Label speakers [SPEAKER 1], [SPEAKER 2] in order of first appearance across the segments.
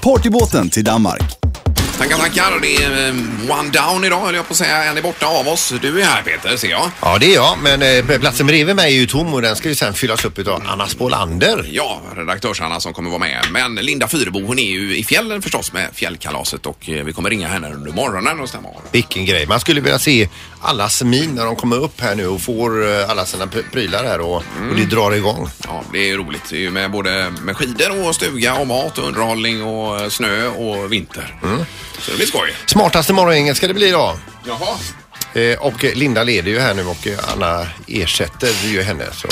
[SPEAKER 1] partybåten till Danmark.
[SPEAKER 2] Tackar, tackar. Det är eh, one down idag höll jag på att säga. En är borta av oss. Du är här Peter, ser jag.
[SPEAKER 3] Ja, det är jag. Men eh, platsen bredvid mig är ju tom och den ska ju sen fyllas upp utav Anna Spolander.
[SPEAKER 2] Ja, redaktörs-Anna som kommer vara med. Men Linda Fyrebo, hon är ju i fjällen förstås med fjällkalaset och eh, vi kommer ringa henne under morgonen och stämma av.
[SPEAKER 3] Vilken grej. Man skulle vilja se allas min när de kommer upp här nu och får eh, alla sina pr- prylar här och, och det drar igång.
[SPEAKER 2] Ja, det är ju roligt. Det är ju med både med skidor och stuga och mat och underhållning och eh, snö och vinter. Så det blir skoj.
[SPEAKER 3] Smartaste morgongänget ska det bli idag.
[SPEAKER 2] Jaha.
[SPEAKER 3] Eh, och eh, Linda leder ju här nu och eh, Anna ersätter ju henne. Så.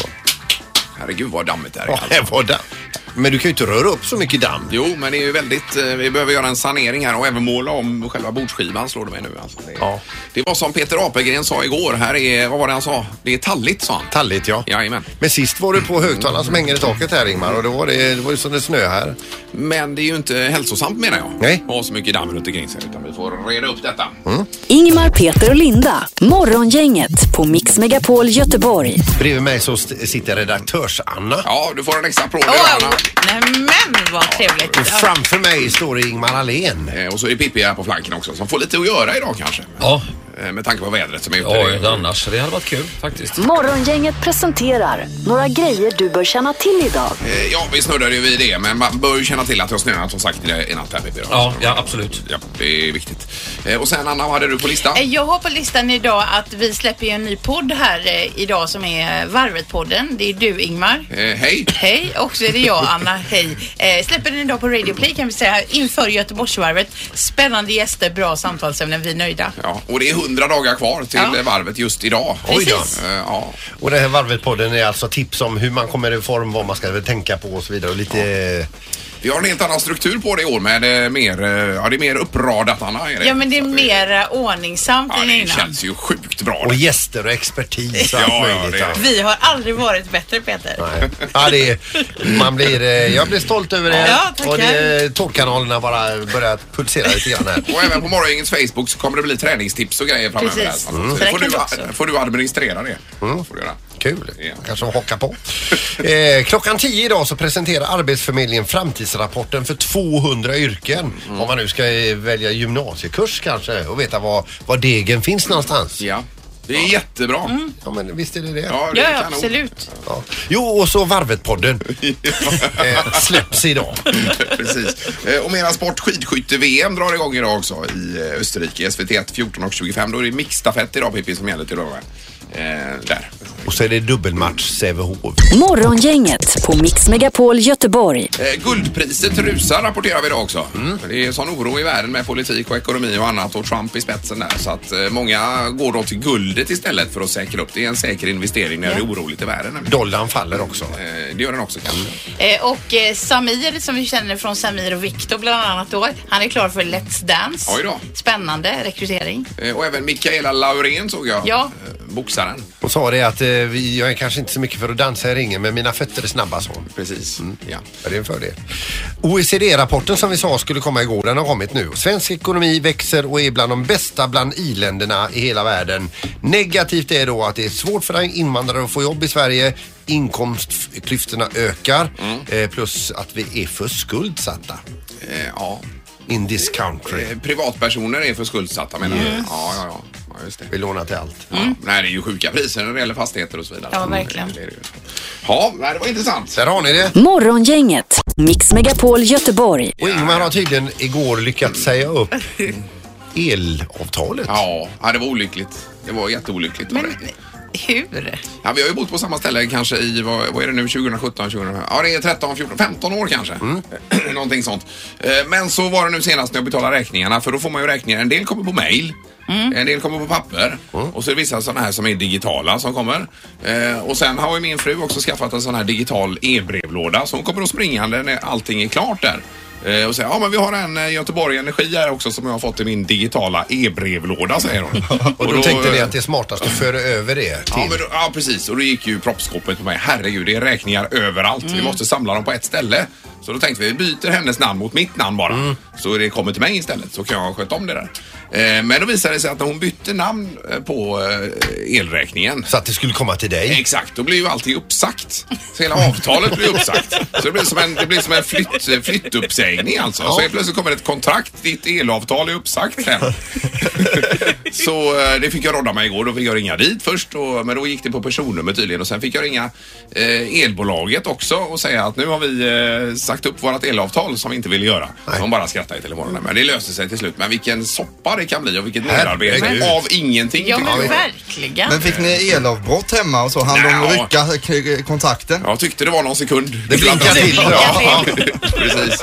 [SPEAKER 2] Herregud vad dammigt det här är.
[SPEAKER 3] Ja, här var damm. Men du kan ju inte röra upp så mycket damm.
[SPEAKER 2] Jo, men det är ju väldigt... eh, Vi behöver göra en sanering här och även måla om själva bordsskivan slår det mig nu. Alltså, det,
[SPEAKER 3] Ja.
[SPEAKER 2] det var som Peter Apelgren sa igår. Här är... Vad var det han sa? Det är talligt, sa han.
[SPEAKER 3] Talligt ja.
[SPEAKER 2] Jajamän.
[SPEAKER 3] Men sist var du på högtalaren som hänger i taket här Ingmar och då var det, det var ju som det snö här.
[SPEAKER 2] Men det är ju inte hälsosamt menar jag.
[SPEAKER 3] Nej.
[SPEAKER 2] Att ha så mycket damm runt omkring sig utan vi får reda upp detta.
[SPEAKER 4] Ingmar, Peter och Linda. Morgongänget på Mix Megapol Göteborg.
[SPEAKER 3] Bredvid mig så st- sitter redaktörs-Anna.
[SPEAKER 2] Ja, du får en extra applåd
[SPEAKER 5] Wow.
[SPEAKER 2] Johanna.
[SPEAKER 5] Nämen vad trevligt.
[SPEAKER 3] Och framför mig står det Ingmar Ahlén.
[SPEAKER 2] Eh, Och så är det Pippi här på flanken också som får lite att göra idag kanske.
[SPEAKER 6] Ja,
[SPEAKER 2] Eh, Med tanke på vädret som är ute.
[SPEAKER 6] ja
[SPEAKER 2] Det-
[SPEAKER 6] det annars. Det hade varit kul faktiskt.
[SPEAKER 4] Mm. Morgongänget presenterar några grejer du bör känna till idag.
[SPEAKER 2] Eh, Ja, vi snurrade ju vid det, men man bör ju känna till att det har snöat som sagt i natt här Pippi.
[SPEAKER 6] Ja, ja absolut.
[SPEAKER 2] Ja, det är viktigt. Eh, Och sen Anna, vad hade du på listan?
[SPEAKER 5] Eh, Jag har på listan idag att vi släpper ju en ny podd här eh, idag som är Varvet-podden. Det är du Ingmar.
[SPEAKER 2] Eh, hej!
[SPEAKER 5] Hej och så är det jag Anna, hej. Eh, släpper den idag på Radio Play kan vi säga inför Göteborgsvarvet. Spännande gäster, bra samtalsämnen, vi är nöjda.
[SPEAKER 2] Ja, och det är hundra dagar kvar till
[SPEAKER 5] Ja.
[SPEAKER 2] eh, varvet just idag.
[SPEAKER 5] Oj då.
[SPEAKER 2] Eh, Ja,
[SPEAKER 3] Och den här Varvet-podden är alltså tips om hur man kommer i form, vad man ska tänka på och så vidare. Och lite...
[SPEAKER 2] vi har en helt annan struktur på det i år med eh, mer, eh, ja, det är mer uppradat Anna. Är det.
[SPEAKER 5] Ja men det är
[SPEAKER 2] Så att
[SPEAKER 5] mera ordningsamt
[SPEAKER 2] Ja,
[SPEAKER 5] än
[SPEAKER 2] det
[SPEAKER 5] innan.
[SPEAKER 2] känns ju sjukt bra.
[SPEAKER 3] Och
[SPEAKER 2] det.
[SPEAKER 3] gäster och expertis och allt
[SPEAKER 2] Ja, ja,
[SPEAKER 3] möjligt.
[SPEAKER 2] det
[SPEAKER 3] Ja,
[SPEAKER 2] är
[SPEAKER 5] Vi har aldrig varit bättre Peter.
[SPEAKER 3] Nej. Ja, det är, man blir, eh, jag blir stolt över det.
[SPEAKER 5] Ja, tackar.
[SPEAKER 3] och det, tårkanalerna bara börjar pulsera lite grann här.
[SPEAKER 2] Och även på morgongängets Facebook så kommer det bli träningstips och grejer framöver.
[SPEAKER 5] Precis.
[SPEAKER 2] här, så
[SPEAKER 5] Mm.
[SPEAKER 2] det
[SPEAKER 5] Så
[SPEAKER 2] får,
[SPEAKER 5] det
[SPEAKER 2] du,
[SPEAKER 5] kan vi också. Mm.
[SPEAKER 2] får du administrera det. Får du göra.
[SPEAKER 3] Kul.
[SPEAKER 2] Ja.
[SPEAKER 3] Kanske de hockar på. Eh, klockan 10 idag så presenterar Arbetsförmedlingen framtidsrapporten för 200 yrken.
[SPEAKER 2] Mm.
[SPEAKER 3] Om man nu ska eh, välja gymnasiekurs kanske och veta var, var degen finns någonstans.
[SPEAKER 2] Ja. Det är jättebra.
[SPEAKER 3] Ja, men visst är det det.
[SPEAKER 2] Ja, det är
[SPEAKER 5] Mm. Ja, ja
[SPEAKER 2] kanon.
[SPEAKER 5] absolut.
[SPEAKER 3] Ja. Jo, och så Varvet-podden eh, släpps idag.
[SPEAKER 2] Precis. Eh, Och medan sport skidskytte-VM drar igång idag också i eh, Österrike. SVT 14 och 25. Då är det mixstafett idag Pippi som gäller till då. va? Eh, där.
[SPEAKER 3] Och så är det dubbelmatch Sävehof.
[SPEAKER 4] Morgongänget på Mix Megapol Göteborg.
[SPEAKER 2] Eh, guldpriset rusar rapporterar vi idag också. Det är sån oro i världen med politik och ekonomi och annat och Trump i spetsen där. Så att eh, många går då till guldet istället för att säkra upp. Det är en säker investering när det är oroligt i världen. nämligen.
[SPEAKER 3] Dollarn faller också.
[SPEAKER 2] Eh, det gör den också kanske.
[SPEAKER 5] Eh, och eh, Samir som vi känner från Samir och Viktor bland annat då. Han är klar för Let's Dance.
[SPEAKER 2] Oj då.
[SPEAKER 5] Spännande rekrytering.
[SPEAKER 2] Eh, och även Mikaela Laurén såg jag.
[SPEAKER 5] Ja.
[SPEAKER 2] Eh, boxaren.
[SPEAKER 3] Hon sa det att eh, vi- jag är kanske inte så mycket för att dansa i ringen men mina fötter är snabba så.
[SPEAKER 2] Precis. Ja.
[SPEAKER 3] Ja, det är en fördel. OECD-rapporten som vi sa skulle komma igår, den har kommit nu. Svensk ekonomi växer och är bland de bästa bland i-länderna i hela världen. Negativt är då att det är svårt för invandrare att få jobb i Sverige. Inkomstklyftorna ökar.
[SPEAKER 2] Mm.
[SPEAKER 3] Eh, plus att vi är för skuldsatta
[SPEAKER 2] Eh, ja.
[SPEAKER 3] in this country.
[SPEAKER 2] Eh, Privatpersoner är för skuldsatta menar jag. Ja, ja, ja. ja just det.
[SPEAKER 3] Vi lånar till allt.
[SPEAKER 2] Ja, nej, det är ju sjuka priser när det gäller fastigheter och så vidare.
[SPEAKER 5] Mm. Ja, verkligen.
[SPEAKER 2] Det är det ju. Ja, nej, det var intressant.
[SPEAKER 3] Där har ni det.
[SPEAKER 4] Morgongänget, Mix Megapol Göteborg.
[SPEAKER 3] Och Ingmar har tydligen igår lyckats säga upp elavtalet.
[SPEAKER 2] Ja, ja, det var olyckligt. Det var jätteolyckligt. var
[SPEAKER 5] Men
[SPEAKER 2] det.
[SPEAKER 5] hur?
[SPEAKER 2] Ja, vi har ju bott på samma ställe kanske i, vad, vad är det nu, 2017, 2015? Ja, det är 13, 14, 15 år kanske.
[SPEAKER 3] Mm.
[SPEAKER 2] Någonting sånt. Eh, Men så var det nu senast när jag betalade räkningarna, för då får man ju räkningar. En del kommer på mail. En del kommer på papper
[SPEAKER 3] Mm.
[SPEAKER 2] och så är det vissa sådana här som är digitala som kommer. Eh, och sen har ju min fru också skaffat en sån här digital e-brevlåda så hon kommer att springande när allting är klart där. Eh, Och säger, ja men vi har en eh, Göteborg Energi här också som jag har fått i min digitala e-brevlåda säger hon.
[SPEAKER 3] Och då, tänkte ni att det är smartast att föra över det till...
[SPEAKER 2] eh, Ja, men då, ja precis och då gick ju proppskåpet på mig. Herregud det är räkningar överallt. Vi måste samla dem på ett ställe. Så då tänkte vi, vi byter hennes namn mot mitt namn bara. Så det kommer till mig istället så kan jag sköta om det där. Eh, Men då visade det sig att när hon bytte namn eh, på eh, elräkningen
[SPEAKER 3] Så att det skulle komma till dig.
[SPEAKER 2] Exakt, då blir ju allting uppsagt. Så hela avtalet blir uppsagt. Så det blir som en, det blir som en flytt, flyttuppsägning alltså. Så helt plötsligt kommer ett kontrakt, ditt elavtal är uppsagt sen. Så eh, det fick jag rodda mig igår. Då fick jag ringa dit först, och, men då gick det på personnummer tydligen. Och sen fick jag ringa eh, elbolaget också och säga att nu har vi eh, sagt upp vårt elavtal som vi inte ville göra.
[SPEAKER 3] Nej.
[SPEAKER 2] De bara skrattade i telefonen. Men det löste sig till slut. Men vilken soppa det kan bli och vilket
[SPEAKER 3] Herregud.
[SPEAKER 2] merarbete av ingenting.
[SPEAKER 5] Ja, men
[SPEAKER 2] tycker jag.
[SPEAKER 5] verkligen.
[SPEAKER 7] Men fick ni elavbrott hemma och så hann de
[SPEAKER 2] Nja.
[SPEAKER 7] rycka k- kontakten?
[SPEAKER 2] Jag tyckte det var någon sekund. Det
[SPEAKER 3] blinkade till.
[SPEAKER 2] Ja, precis.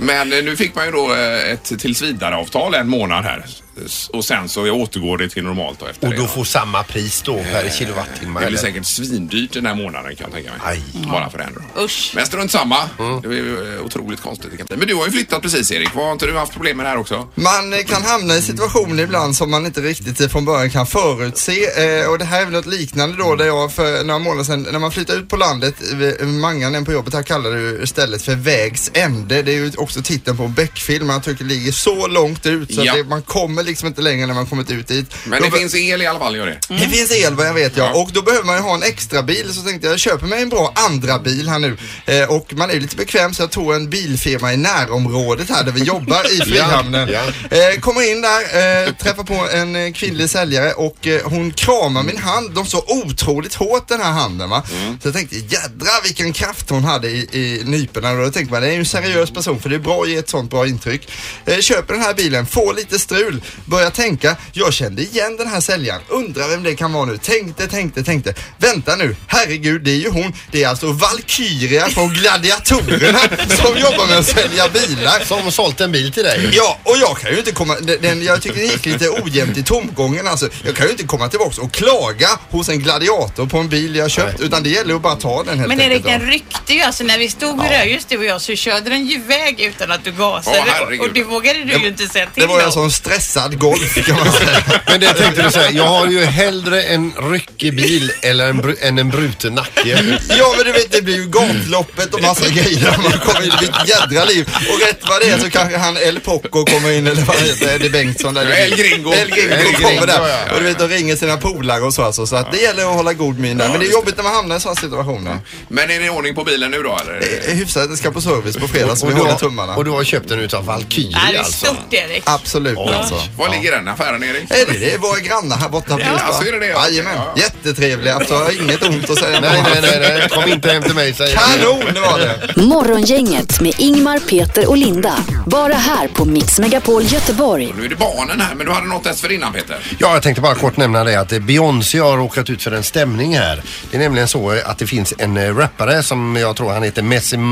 [SPEAKER 2] Men eh, nu fick man ju då eh, ett tills vidare-avtal en månad här. S- Och sen så återgår det till normalt då efter
[SPEAKER 3] Och
[SPEAKER 2] det.
[SPEAKER 3] då får samma pris då per kilowattimme.
[SPEAKER 2] Det blir
[SPEAKER 3] eller?
[SPEAKER 2] säkert svindyrt den här månaden kan jag tänka mig.
[SPEAKER 3] Aj.
[SPEAKER 2] Bara för den då.
[SPEAKER 5] Usch.
[SPEAKER 2] Men strunt samma. Det är ju eh, otroligt konstigt. det kan bli. Men du har ju flyttat precis Erik. Har inte du haft problem med det här också?
[SPEAKER 7] Man eh, kan hamna i situationer ibland som man inte riktigt från början kan förutse eh, och det här är väl något liknande då där jag för några månader sedan när man flyttade ut på landet, eh, Mangan en på jobbet här kallade det ju stället för Vägs ände. Det är ju också titeln på en Beck-film man tycker det ligger så långt ut så
[SPEAKER 2] Ja.
[SPEAKER 7] att det, man kommer liksom inte längre när man kommit ut dit.
[SPEAKER 2] Men
[SPEAKER 7] Då
[SPEAKER 2] det
[SPEAKER 7] be-
[SPEAKER 2] finns el i alla fall, gör det.
[SPEAKER 7] Det finns el vad jag vet ja.
[SPEAKER 2] Ja.
[SPEAKER 7] Och då behöver man ju ha en extra bil så tänkte jag, jag köper mig en bra andra bil här nu. Eh, och man är ju lite bekväm så jag tog en bilfirma i närområdet här där vi jobbar i Frihamnen.
[SPEAKER 3] Ja,
[SPEAKER 7] Eh, kommer in där, eh, träffar på en eh, kvinnlig säljare och eh, hon kramar min hand. De så otroligt hårt den här handen va.
[SPEAKER 3] Mm.
[SPEAKER 7] Så jag tänkte jädra vilken kraft hon hade i, i nyporna. Och då tänkte man det är ju en seriös person för det är bra att ge ett sånt bra intryck. Eh, köper den här bilen, får lite strul, börjar tänka. Jag kände igen den här säljaren, undrar vem det kan vara nu. Tänkte, tänkte, tänkte. Vänta nu, herregud det är ju hon. Det är alltså Valkyria från Gladiatorerna som jobbar med att sälja bilar.
[SPEAKER 3] Som sålt en bil till dig.
[SPEAKER 7] Ja, och jag kan ju inte komma, den- den, jag tycker det gick lite ojämnt i tomgången alltså. Jag kan ju inte komma tillbaks och klaga hos en gladiator på en bil jag köpt, utan det gäller att bara ta den helt
[SPEAKER 5] Men Erik,
[SPEAKER 7] enkelt.
[SPEAKER 5] den ryckte ju. Alltså när vi stod vid Röjhus, du och jag, så körde den ju iväg utan att du gasade.
[SPEAKER 2] Åh, herregud.
[SPEAKER 5] och det vågade du ju inte säga till
[SPEAKER 7] det var ju
[SPEAKER 5] om.
[SPEAKER 7] alltså en stressad golf kan man säga.
[SPEAKER 3] Men det tänkte du säga, jag har ju hellre en ryckig bil eller en bru- än en bruten nacke.
[SPEAKER 7] Ja men du vet det blir ju gatloppet och massa grejer om man kommer in i ett jädra liv. Och rätt vad det är så kanske han El Poco kommer in eller vad han heter, Eddie Bengtsson där.
[SPEAKER 2] El Gringo.
[SPEAKER 7] El Gringo
[SPEAKER 2] El Gringo,
[SPEAKER 7] kommer
[SPEAKER 3] ja,
[SPEAKER 7] där.
[SPEAKER 3] ja.
[SPEAKER 7] Och du vet de ringer sina polare och så alltså. Så att det gäller att hålla god min där. Men det är jobbigt när man hamnar i sådana situationer.
[SPEAKER 2] Men är det ordning på bilen nu då eller?
[SPEAKER 7] Eh, Hyfsat, det ska på service på fredag så
[SPEAKER 3] Och
[SPEAKER 7] vi
[SPEAKER 3] du
[SPEAKER 7] håller
[SPEAKER 3] har,
[SPEAKER 7] tummarna.
[SPEAKER 3] och du har köpt den utav
[SPEAKER 5] Ja, det
[SPEAKER 3] Valkyrie
[SPEAKER 5] är
[SPEAKER 3] alltså.
[SPEAKER 5] stort Erik.
[SPEAKER 7] Absolut alltså.
[SPEAKER 2] Var ligger den affären Erik?
[SPEAKER 7] Är det, det är våra grannar här borta på Ystad.
[SPEAKER 2] alltså, är det det?
[SPEAKER 7] Jajamän,
[SPEAKER 2] Ja.
[SPEAKER 7] jättetrevliga. Alltså, jag har inget ont att säga. om
[SPEAKER 3] Nej,
[SPEAKER 7] dem.
[SPEAKER 3] nej, nej, nej. Kom inte hem till mig säger jag.
[SPEAKER 7] Kanon det var det.
[SPEAKER 4] Morgongänget med Ingmar, Peter och Linda. Bara här på Mix Megapol Göteborg.
[SPEAKER 2] Nu är det barnen här men du hade något dessförinnan Peter.
[SPEAKER 3] Ja, jag tänkte bara kort nämna det att eh, Beyoncé har råkat ut för en stämning här. Det är nämligen så eh, att det finns en eh, rappare som jag tror han heter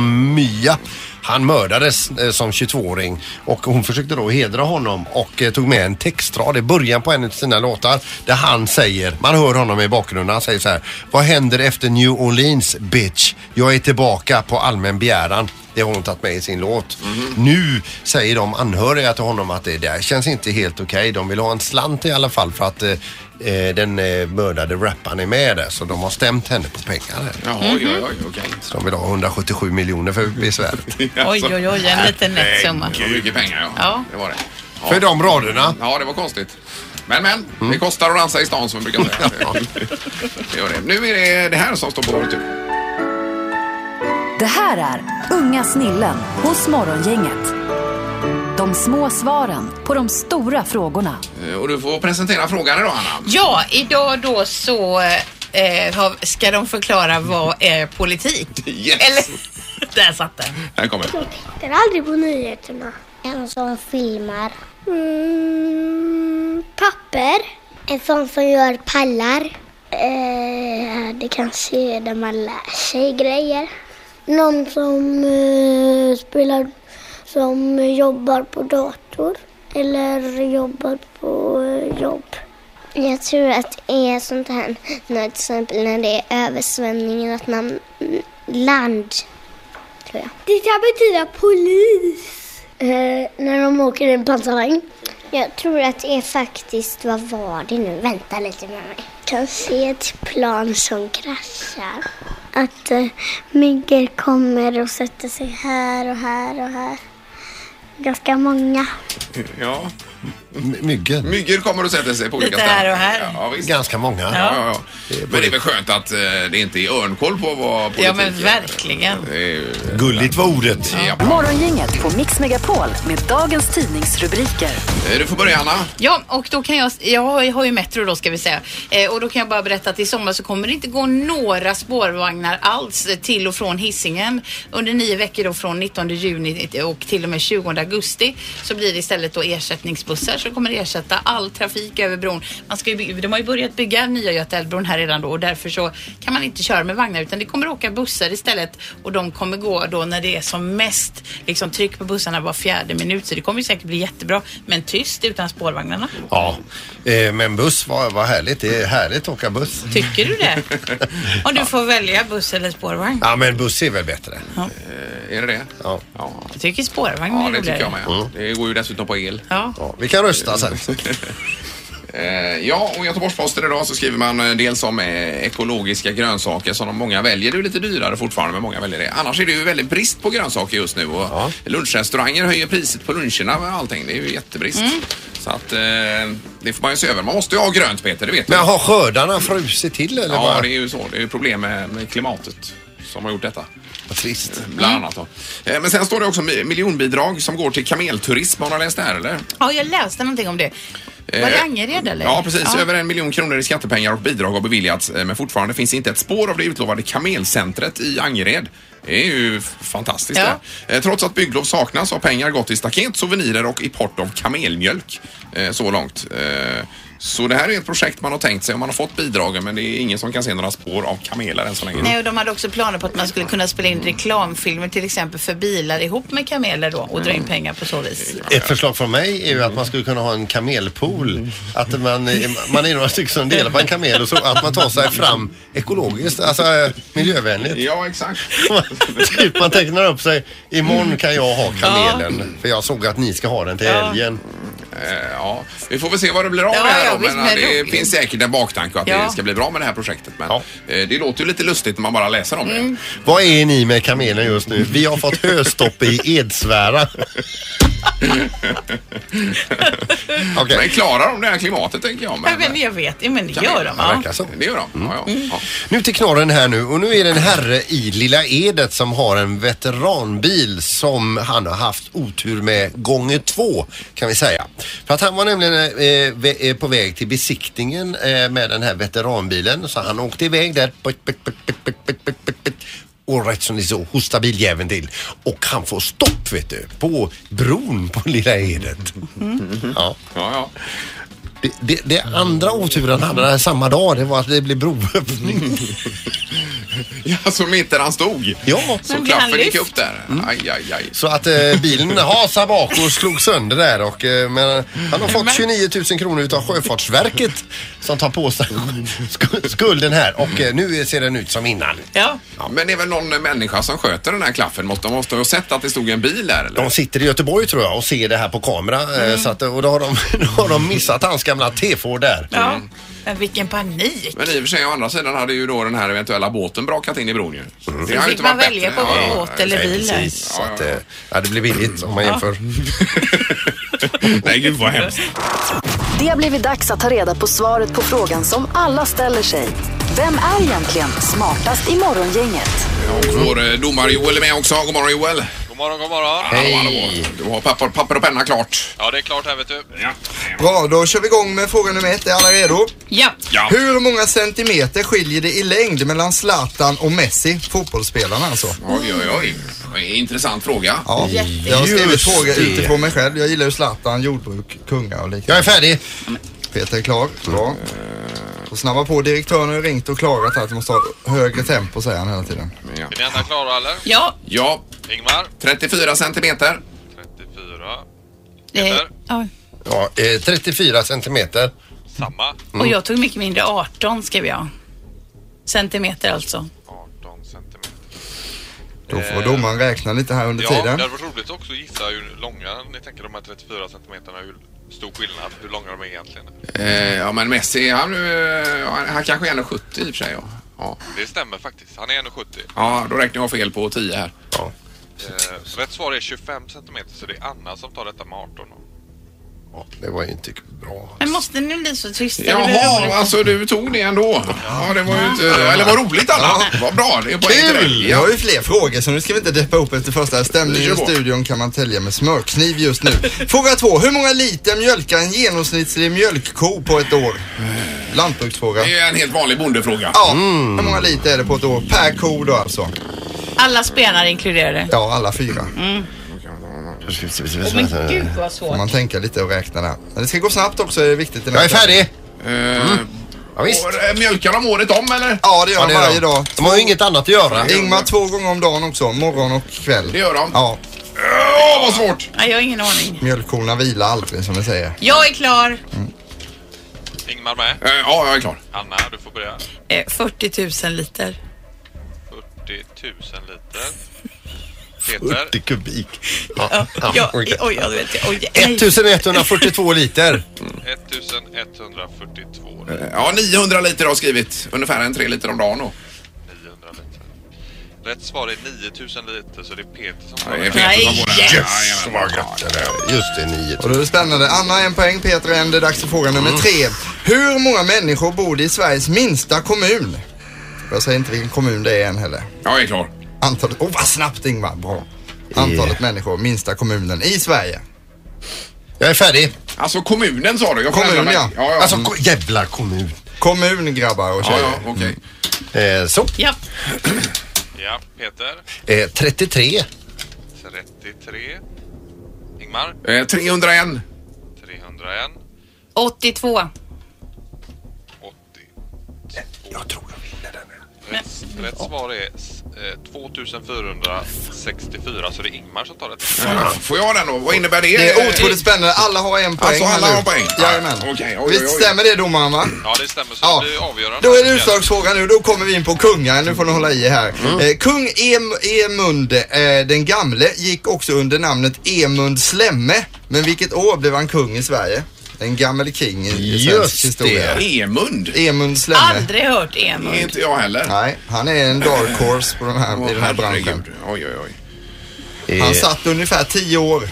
[SPEAKER 3] Messimia. Han mördades eh, som 22-åring och hon försökte då hedra honom och eh, tog med en textrad i början på en av sina låtar där han säger, man hör honom i bakgrunden, han säger så här. Vad händer efter New Orleans bitch? Jag är tillbaka på allmän begäran. Det har hon tagit med i sin låt. Nu säger de anhöriga till honom att det där känns inte helt okej. De vill ha en slant i alla fall för att eh, eh, den eh, mördade rapparen är med där. Så de har stämt henne på pengar. här.
[SPEAKER 2] Jaha, oj, oj, oj, okej.
[SPEAKER 3] Så de vill ha 177 miljoner för besväret.
[SPEAKER 5] Oj, oj, oj, en liten nätt summa.
[SPEAKER 2] Alltså. Det var mycket pengar ja.
[SPEAKER 5] Ja.
[SPEAKER 2] Det var det. Ja.
[SPEAKER 3] För de raderna. Mm.
[SPEAKER 2] Ja, det var konstigt. Men, men. Det kostar att dansa i stan som vi brukar säga. det gör det. Nu är det det här som står på vår tur.
[SPEAKER 4] Det här är Unga snillen hos Morgongänget. De små svaren på de stora frågorna.
[SPEAKER 2] Eh, Och du får presentera frågan idag, Anna.
[SPEAKER 5] Ja, idag då så eh, har- ska de förklara vad är politik?
[SPEAKER 2] Yes.
[SPEAKER 5] Eller, där satt den.
[SPEAKER 2] Här kommer den.
[SPEAKER 8] tittar aldrig på nyheterna. En som filmar. Mm, papper. En sån som gör pallar. Eh, det kanske är där man lär sig grejer. Någon som eh, spelar, som jobbar på dator. Eller jobbar på eh, jobb. Jag tror att det är sånt här, när, till exempel när det är översvämningen, mm, att man land Tror jag. Det kan betyda polis. Eh, när de åker i en pansarvagn. Jag tror att det är faktiskt, vad var det nu? Vänta lite med mig. Kan se ett plan som kraschar. Att eh, myggor kommer och sätter sig här och här och här. Ganska många.
[SPEAKER 2] Ja.
[SPEAKER 3] Myggor.
[SPEAKER 2] Myggor kommer och sätter sig på olika
[SPEAKER 8] Lite här och här.
[SPEAKER 2] Ja, visst.
[SPEAKER 3] Ganska många.
[SPEAKER 2] Ja. Ja, ja. Men det är väl skönt att eh, det inte är örnkoll på vad
[SPEAKER 5] Ja,
[SPEAKER 2] politiken...
[SPEAKER 5] men verkligen.
[SPEAKER 3] Gulligt var ordet.
[SPEAKER 2] Ja.
[SPEAKER 4] Morgongänget på Mix Megapol med dagens tidningsrubriker.
[SPEAKER 2] Eh, Du får börja Anna.
[SPEAKER 5] Ja, och då kan jag, jag har- jag har ju Metro då ska vi säga, eh, och då kan jag bara berätta att i sommar så kommer det inte gå några spårvagnar alls eh, till och från Hisingen under nio veckor då från 19 juni och till och med 20 augusti så blir det istället då ersättningsbussar som kommer ersätta all trafik över bron. Man ska ju, by- de har ju börjat bygga nya Göta älvbron här redan då och därför så kan man inte köra med vagnar utan det kommer åka bussar istället och de kommer gå då när det är som mest liksom tryck på bussarna var fjärde minut så det kommer ju säkert bli jättebra men tyst utan spårvagnarna.
[SPEAKER 3] Ja, eh, men buss, vad, vad härligt. Det är härligt att åka buss.
[SPEAKER 5] Tycker du det? Om du får välja buss eller spårvagn.
[SPEAKER 3] Ja, men buss är väl bättre.
[SPEAKER 2] Är det det?
[SPEAKER 3] Ja.
[SPEAKER 5] Jag tycker spårvagn
[SPEAKER 2] Ja,
[SPEAKER 5] är
[SPEAKER 2] det tycker
[SPEAKER 5] roligare.
[SPEAKER 2] jag med.
[SPEAKER 3] Mm.
[SPEAKER 2] Det går ju dessutom på el.
[SPEAKER 5] Ja.
[SPEAKER 3] Vi kan rösta sen.
[SPEAKER 2] Eh, Ja, och i Göteborgs-Posten idag så skriver man eh, dels om eh, ekologiska grönsaker som de många väljer. Det är ju lite dyrare fortfarande, men många väljer det. Annars är det ju väldigt brist på grönsaker just nu och lunchrestauranger höjer priset på luncherna och allting. Det är ju jättebrist. Så att eh, det får man ju se över. Man måste ju ha grönt, Peter, det vet
[SPEAKER 3] Men
[SPEAKER 2] du.
[SPEAKER 3] har skördarna frusit till eller?
[SPEAKER 2] Ja,
[SPEAKER 3] vad?
[SPEAKER 2] det är ju så. Det är ju problem med, med klimatet som har gjort detta.
[SPEAKER 3] Vad trist.
[SPEAKER 2] Bland annat då. Eh, Men sen står det också mi- miljonbidrag som går till kamelturism. Har du läst det här eller?
[SPEAKER 5] Ja, jag läste någonting om det. Var det
[SPEAKER 2] Eh,
[SPEAKER 5] Angered eller?
[SPEAKER 2] Ja, precis. Över en miljon kronor i skattepengar och bidrag har beviljats. eh, Men fortfarande finns inte ett spår av det utlovade kamelcentret i Angered. Det är ju f- fantastiskt.
[SPEAKER 5] Ja.
[SPEAKER 2] det. Eh, Trots att bygglov saknas har pengar gått till staket, souvenirer och import av kamelmjölk. eh, Så långt. Eh, Så det här är ett projekt man har tänkt sig och man har fått bidragen men det är ingen som kan se några spår av kameler än så länge.
[SPEAKER 5] Nej, och de hade också planer på att man skulle kunna spela in reklamfilmer till exempel för bilar ihop med kameler då och dra in pengar på så vis.
[SPEAKER 3] Ett förslag från mig är ju att man skulle kunna ha en kamelpool. Att man, är- man är några stycken som delar på en kamel och så att man tar sig fram ekologiskt, alltså eh, miljövänligt.
[SPEAKER 2] Ja, exakt.
[SPEAKER 3] typ man tecknar upp sig. Imorgon kan jag ha kamelen. För jag såg att ni ska ha den till
[SPEAKER 5] Ja.
[SPEAKER 3] helgen.
[SPEAKER 2] Eh, Ja, vi får väl se vad det blir av
[SPEAKER 5] Ja,
[SPEAKER 2] det här
[SPEAKER 5] ja,
[SPEAKER 2] då,
[SPEAKER 5] visst,
[SPEAKER 2] men
[SPEAKER 5] men
[SPEAKER 2] eh, det
[SPEAKER 5] roligt.
[SPEAKER 2] finns säkert en baktanke att
[SPEAKER 5] Ja.
[SPEAKER 2] det ska bli bra med det här projektet. Men eh, det låter ju lite lustigt när man bara läser om
[SPEAKER 5] Mm.
[SPEAKER 2] det.
[SPEAKER 3] Vad är ni med kamelen just nu? Vi har fått höstopp i Edsvära. Okej.
[SPEAKER 2] Men klarar de det här klimatet tänker jag.
[SPEAKER 5] Ja,
[SPEAKER 2] Men, eh,
[SPEAKER 5] men jag vet, Mm. ja, men det gör de.
[SPEAKER 3] Det
[SPEAKER 5] Ja.
[SPEAKER 3] verkar så.
[SPEAKER 2] det gör de. Ja, ja. Ja.
[SPEAKER 3] Nu till knorren här nu och nu är det en herre i Lilla Edet som har en veteranbil som han har haft otur med gånger två kan vi säga. För att han var nämligen eh, vä- eh, på väg till besiktningen eh, med den här veteranbilen så han åkte iväg där put, put, put, put, put, put, put, put, put. och rätt som det är så hostar biljäveln till och han får stopp vet du på bron på Lilla Edet. Ja.
[SPEAKER 2] Ja, ja.
[SPEAKER 3] Det, det, det andra oturen han hade samma dag det var att det blev broöppning.
[SPEAKER 2] ja, som inte han stod.
[SPEAKER 3] Ja.
[SPEAKER 2] Så
[SPEAKER 5] Men blir han
[SPEAKER 2] klaffen gick
[SPEAKER 5] lyft?
[SPEAKER 2] upp där. Aj, aj, aj.
[SPEAKER 3] Så att eh, bilen hasade bak och slog sönder där och eh, men han har fått 29 000 kronor utav Sjöfartsverket som tar på sig sk- skulden här och eh, nu ser den ut som innan.
[SPEAKER 5] Ja.
[SPEAKER 2] Men det är väl någon eh, människa som sköter den här klaffen? Måste, måste ha sett att det stod en bil där eller?
[SPEAKER 3] De sitter i Göteborg tror jag och ser det här på kamera eh, så att, och då har, de, då har de missat hans gamla T-Ford där.
[SPEAKER 5] ja. Men vilken panik.
[SPEAKER 2] Men i och för sig, å andra sidan hade ju då den här eventuella båten brakat in i bron ju. Det
[SPEAKER 5] Då
[SPEAKER 2] hade ju
[SPEAKER 5] fick
[SPEAKER 2] inte
[SPEAKER 5] man
[SPEAKER 2] varit
[SPEAKER 5] välja
[SPEAKER 2] bättre.
[SPEAKER 5] på
[SPEAKER 2] Ja, ja.
[SPEAKER 5] båt eller
[SPEAKER 3] Nej,
[SPEAKER 5] bil. där.
[SPEAKER 3] precis. Så att, eh, ja, det blir billigt om man jämför.
[SPEAKER 2] Nej, gud vad hemskt.
[SPEAKER 4] Det har blivit dags att ta reda på svaret på frågan som alla ställer sig. Vem är egentligen smartast i morgongänget?
[SPEAKER 2] Och vår eh, domare Joel är med också. God morgon Joel!
[SPEAKER 9] God morgon, god morgon.
[SPEAKER 2] Hallå, hallå. Du har papper, papper och penna klart.
[SPEAKER 9] Ja, det är klart här vet du.
[SPEAKER 2] Ja.
[SPEAKER 7] Bra, då kör vi igång med fråga nummer ett. Är alla redo?
[SPEAKER 5] Ja.
[SPEAKER 2] Ja.
[SPEAKER 7] Hur många centimeter skiljer det i längd mellan Zlatan och Messi? Fotbollsspelarna alltså.
[SPEAKER 2] Oj, oj, oj. Det är en Intressant fråga.
[SPEAKER 7] Ja,
[SPEAKER 5] Jätte-
[SPEAKER 7] jag har skrivit
[SPEAKER 3] Just
[SPEAKER 7] fråga
[SPEAKER 3] det.
[SPEAKER 7] utifrån mig själv. Jag gillar ju Zlatan, jordbruk, kungar och liknande.
[SPEAKER 3] Jag är färdig.
[SPEAKER 7] Peter är klar. Bra. Och snabba på. Direktören har ringt och klagat här att vi måste ha högre tempo säger han hela tiden.
[SPEAKER 2] Ja.
[SPEAKER 9] Är ni andra klara eller?
[SPEAKER 5] Ja,
[SPEAKER 2] ja,
[SPEAKER 9] Ingmar,
[SPEAKER 2] 34 centimeter.
[SPEAKER 9] 34.
[SPEAKER 5] eh,
[SPEAKER 9] Peter,
[SPEAKER 5] ja.
[SPEAKER 3] Ja, eh, 34 centimeter.
[SPEAKER 9] samma.
[SPEAKER 5] Och jag tog mycket mindre, 18 skrev jag. Centimeter alltså.
[SPEAKER 9] 18 centimeter.
[SPEAKER 7] Då får domaren räkna lite här under
[SPEAKER 9] Eh, ja,
[SPEAKER 7] tiden.
[SPEAKER 9] det hade varit roligt också att gissa hur långa ni tänker de här 34 centimeterna, hur stor skillnad, hur långa de är egentligen.
[SPEAKER 2] Eh, ja, men Messi, han, eh, han, han kanske är 1,70 i och för sig. Ja. Ja.
[SPEAKER 9] Det stämmer faktiskt, han är 1,70.
[SPEAKER 2] ja, då räknar jag fel på 10 här.
[SPEAKER 3] Ja.
[SPEAKER 9] Eh, så rätt svar är 25 centimeter så det är Anna som tar detta med 18.
[SPEAKER 3] Ja, det var ju inte bra.
[SPEAKER 5] Men måste ni bli så tysta? Det blir
[SPEAKER 2] Jaha,
[SPEAKER 5] roligt.
[SPEAKER 2] alltså du tog det ändå. Ja, det var ju inte... Eller vad roligt Anna. Vad bra, det är poäng till
[SPEAKER 7] Kul!
[SPEAKER 2] dig.
[SPEAKER 7] Jag
[SPEAKER 2] Ja.
[SPEAKER 7] har ju fler frågor så nu ska vi inte deppa upp efter första. Stämningen
[SPEAKER 2] Kör
[SPEAKER 7] i
[SPEAKER 2] på.
[SPEAKER 7] studion kan man tälja med smörkniv just nu. Fråga två. Hur många liter mjölkar en genomsnittlig mjölkko på ett år? Lantbruksfråga.
[SPEAKER 2] Det är en helt vanlig bondefråga.
[SPEAKER 7] Ja, hur många liter är det på ett år? Per ko då alltså?
[SPEAKER 5] Alla spenare inkluderade.
[SPEAKER 7] Ja, alla fyra.
[SPEAKER 5] Åh, men gud vad svårt.
[SPEAKER 7] Får man tänka lite och räkna där. Men det ska gå snabbt också, det är viktigt.
[SPEAKER 3] Jag är färdig.
[SPEAKER 2] Mm.
[SPEAKER 3] Ja, visst.
[SPEAKER 2] eh, Mjölkar de året om eller?
[SPEAKER 7] Ja, det gör
[SPEAKER 3] Ja,
[SPEAKER 7] de
[SPEAKER 3] det gör
[SPEAKER 7] varje
[SPEAKER 3] de.
[SPEAKER 7] dag.
[SPEAKER 3] De har ju inget annat att göra.
[SPEAKER 7] Ingmar två gånger om dagen också, morgon och kväll.
[SPEAKER 2] Det gör de.
[SPEAKER 7] Ja,
[SPEAKER 2] Åh, vad svårt!
[SPEAKER 5] Nej, jag har ingen aning.
[SPEAKER 7] mjölkkorna vilar aldrig som vi säger.
[SPEAKER 5] Jag är klar.
[SPEAKER 9] Ingmar med?
[SPEAKER 2] Eh, Ja, jag är klar.
[SPEAKER 9] Anna, du får börja.
[SPEAKER 5] Eh, 40 000 liter.
[SPEAKER 9] 40 000 liter. Peter?
[SPEAKER 3] kubik.
[SPEAKER 5] Ja, ja, oj,
[SPEAKER 3] okej.
[SPEAKER 5] oj, jag vet jag. Oj, nej.
[SPEAKER 3] 1142 liter.
[SPEAKER 9] 1142
[SPEAKER 2] Eh, Ja, 900 liter har jag skrivit. Ungefär en tre liter om dagen då.
[SPEAKER 9] 900 liter. Rätt svar är 9000 liter så det är Peter som
[SPEAKER 2] Ja,
[SPEAKER 9] tar
[SPEAKER 2] det är
[SPEAKER 9] det.
[SPEAKER 2] Peter som
[SPEAKER 5] Nej,
[SPEAKER 2] får den.
[SPEAKER 5] yes!
[SPEAKER 2] Jajamän.
[SPEAKER 3] Just det, 9
[SPEAKER 7] Och då är det spännande. Anna en poäng, Peter en. Det är dags för fråga nummer tre. Hur många människor bor det i Sveriges minsta kommun? Jag säger inte vilken kommun det är än heller.
[SPEAKER 2] Jag är klar.
[SPEAKER 7] Antalet, oh vad snabbt Ingmar, bra. Antalet människor, minsta kommunen i Sverige.
[SPEAKER 3] Jag är färdig.
[SPEAKER 2] Alltså kommunen sa du? Jag får
[SPEAKER 7] Kommun,
[SPEAKER 2] ändra mig.
[SPEAKER 7] ja.
[SPEAKER 2] ja, ja.
[SPEAKER 3] Alltså, ko- jävla kommun.
[SPEAKER 7] Kommun grabbar och
[SPEAKER 2] ja,
[SPEAKER 7] tjejer.
[SPEAKER 2] ja, okej.
[SPEAKER 3] Eh, så.
[SPEAKER 5] Ja,
[SPEAKER 9] Ja, Peter.
[SPEAKER 3] Eh, 33.
[SPEAKER 9] 33. Ingmar?
[SPEAKER 2] Eh, 301.
[SPEAKER 9] 301.
[SPEAKER 5] 82.
[SPEAKER 9] 80.
[SPEAKER 3] Jag tror jag vinner den. här.
[SPEAKER 9] Rätt, rätt svar är eh, 2464 så det är Ingmar som tar detta.
[SPEAKER 2] Ja, Får jag den då? Vad innebär det?
[SPEAKER 7] Det är
[SPEAKER 2] Eh,
[SPEAKER 7] otroligt spännande. Alla har en poäng.
[SPEAKER 2] Alltså, alla
[SPEAKER 7] här nu.
[SPEAKER 2] har poäng?
[SPEAKER 7] Jajamän.
[SPEAKER 2] Ja, okej. Oj, oj,
[SPEAKER 7] Visst
[SPEAKER 2] oj.
[SPEAKER 7] stämmer det domaren va?
[SPEAKER 9] Ja, det stämmer så
[SPEAKER 7] Ja.
[SPEAKER 9] det blir avgörande.
[SPEAKER 7] Då är det utslagsfråga nu. Då kommer vi in på kungar. Nu får ni hålla i här. Eh, Kung Em- Emund eh, den gamle gick också under namnet Emund Slemme. Men vilket år blev han kung i Sverige? En gammal king i, i svensk
[SPEAKER 3] Just
[SPEAKER 7] historia.
[SPEAKER 2] Emund?
[SPEAKER 7] Emund Slemme.
[SPEAKER 5] Aldrig hört
[SPEAKER 2] Det är
[SPEAKER 5] Emil.
[SPEAKER 2] inte jag heller.
[SPEAKER 7] Nej, han är en dark horse på den här,
[SPEAKER 2] Åh,
[SPEAKER 7] i den här branschen.
[SPEAKER 2] herregud. Oj, oj, oj.
[SPEAKER 7] Han satt ungefär tio år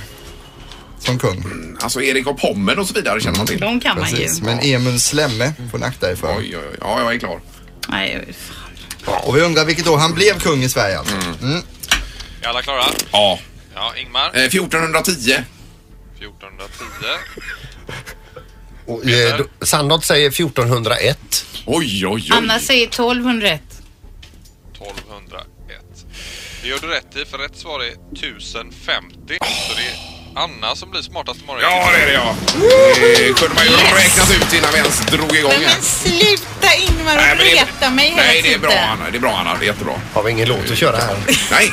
[SPEAKER 7] som kung.
[SPEAKER 2] Alltså Erik och Pommen och så vidare känner man till. Oj,
[SPEAKER 5] De kan man ju.
[SPEAKER 7] Precis. Men Emund Slemme får ni akta er för.
[SPEAKER 2] oj, oj. Ja, jag är klar.
[SPEAKER 5] Nej, fan.
[SPEAKER 7] Ja, och vi undrar vilket år han blev kung i Sverige alltså. Mm.
[SPEAKER 9] Är alla klara?
[SPEAKER 2] Ja.
[SPEAKER 9] Ja, Ingmar.
[SPEAKER 2] Eh, 1410.
[SPEAKER 9] 1410.
[SPEAKER 3] Och, eh, då- Sandholt säger 1401.
[SPEAKER 2] Oj, oj, oj.
[SPEAKER 5] Anna säger 1201.
[SPEAKER 9] 1201. Det gör du rätt i för rätt svar är 1050. Så det är Anna som blir smartast imorgon.
[SPEAKER 2] Ja, det är det ja. Det kunde man ju
[SPEAKER 5] Yes.
[SPEAKER 2] räknat ut innan vi ens drog igång
[SPEAKER 5] Men,
[SPEAKER 2] här.
[SPEAKER 5] men sluta Ingmar
[SPEAKER 2] Nej,
[SPEAKER 5] och
[SPEAKER 2] men det-
[SPEAKER 5] reta mig hela
[SPEAKER 2] Nej, det är
[SPEAKER 5] tiden.
[SPEAKER 2] bra Anna. Det är bra Anna. Det är jättebra.
[SPEAKER 3] Har vi ingen låt att köra här?
[SPEAKER 2] Nej.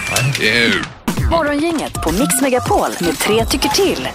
[SPEAKER 2] Eh,
[SPEAKER 4] Morgongänget på Mix Megapol med tre tycker till.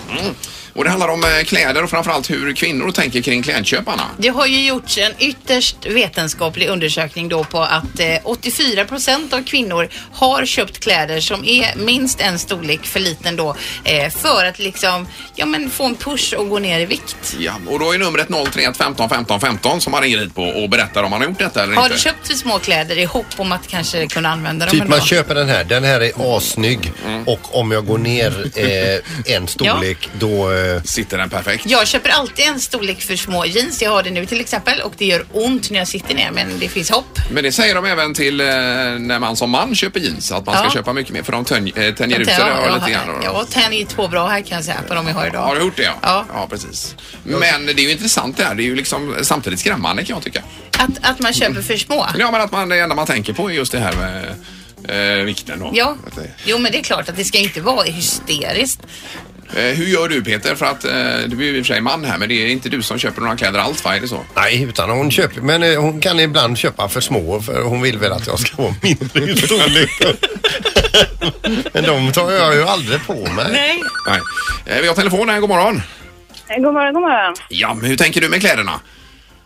[SPEAKER 2] Och det handlar om eh, kläder och framförallt hur kvinnor tänker kring klädköp, Anna.
[SPEAKER 5] Det har ju gjorts en ytterst vetenskaplig undersökning då på att eh, 84 procent av kvinnor har köpt kläder som är minst en storlek för liten då eh, för att liksom, ja men få en push och gå ner i vikt.
[SPEAKER 2] Ja, och då är numret 031 15 15 15 som man ringer dit på och berättar om man har gjort detta eller
[SPEAKER 5] Har
[SPEAKER 2] inte.
[SPEAKER 5] du köpt för små kläder i hopp om att kanske kunna använda dem
[SPEAKER 3] Typ
[SPEAKER 5] ändå?
[SPEAKER 3] man köper den här. Den här är assnygg
[SPEAKER 5] Mm.
[SPEAKER 3] och om jag går ner eh, en storlek då... Eh,
[SPEAKER 2] Sitter den perfekt?
[SPEAKER 5] Jag köper alltid en storlek för små jeans. Jag har det nu till exempel och det gör ont när jag sitter ner men det finns hopp.
[SPEAKER 2] Men det säger de även till eh, när man som man köper jeans, att man ska
[SPEAKER 5] Ja.
[SPEAKER 2] köpa mycket mer för de tönj- eh, tänjer ut sig
[SPEAKER 5] Ja,
[SPEAKER 2] där
[SPEAKER 5] jag
[SPEAKER 2] lite
[SPEAKER 5] har-
[SPEAKER 2] grann.
[SPEAKER 5] Jag har tänjt på bra här kan jag säga på de jag har idag.
[SPEAKER 2] Har du gjort det? Ja.
[SPEAKER 5] Ja.
[SPEAKER 2] precis. Men det är ju intressant det här. Det är ju liksom samtidigt skrämmande kan jag tycka.
[SPEAKER 5] Att, att man köper för små?
[SPEAKER 2] Ja, men att man, det enda man tänker på är just det här med eh, vikten då.
[SPEAKER 5] Ja,
[SPEAKER 2] Att det-
[SPEAKER 5] jo men det är klart att det ska inte vara hysteriskt.
[SPEAKER 2] Eh, hur gör du Peter? För att eh, du är ju i och för sig man här, men det är inte du som köper några kläder alls va? Är det så?
[SPEAKER 3] nej, utan hon köper. Men eh, hon kan ibland köpa för små för hon vill väl att jag ska vara mindre i storlek. men de tar jag ju aldrig på mig.
[SPEAKER 5] Nej.
[SPEAKER 2] Nej. Eh, vi har telefon här, god morgon.
[SPEAKER 10] Eh, God morgon, god morgon.
[SPEAKER 2] Ja, men hur tänker du med kläderna?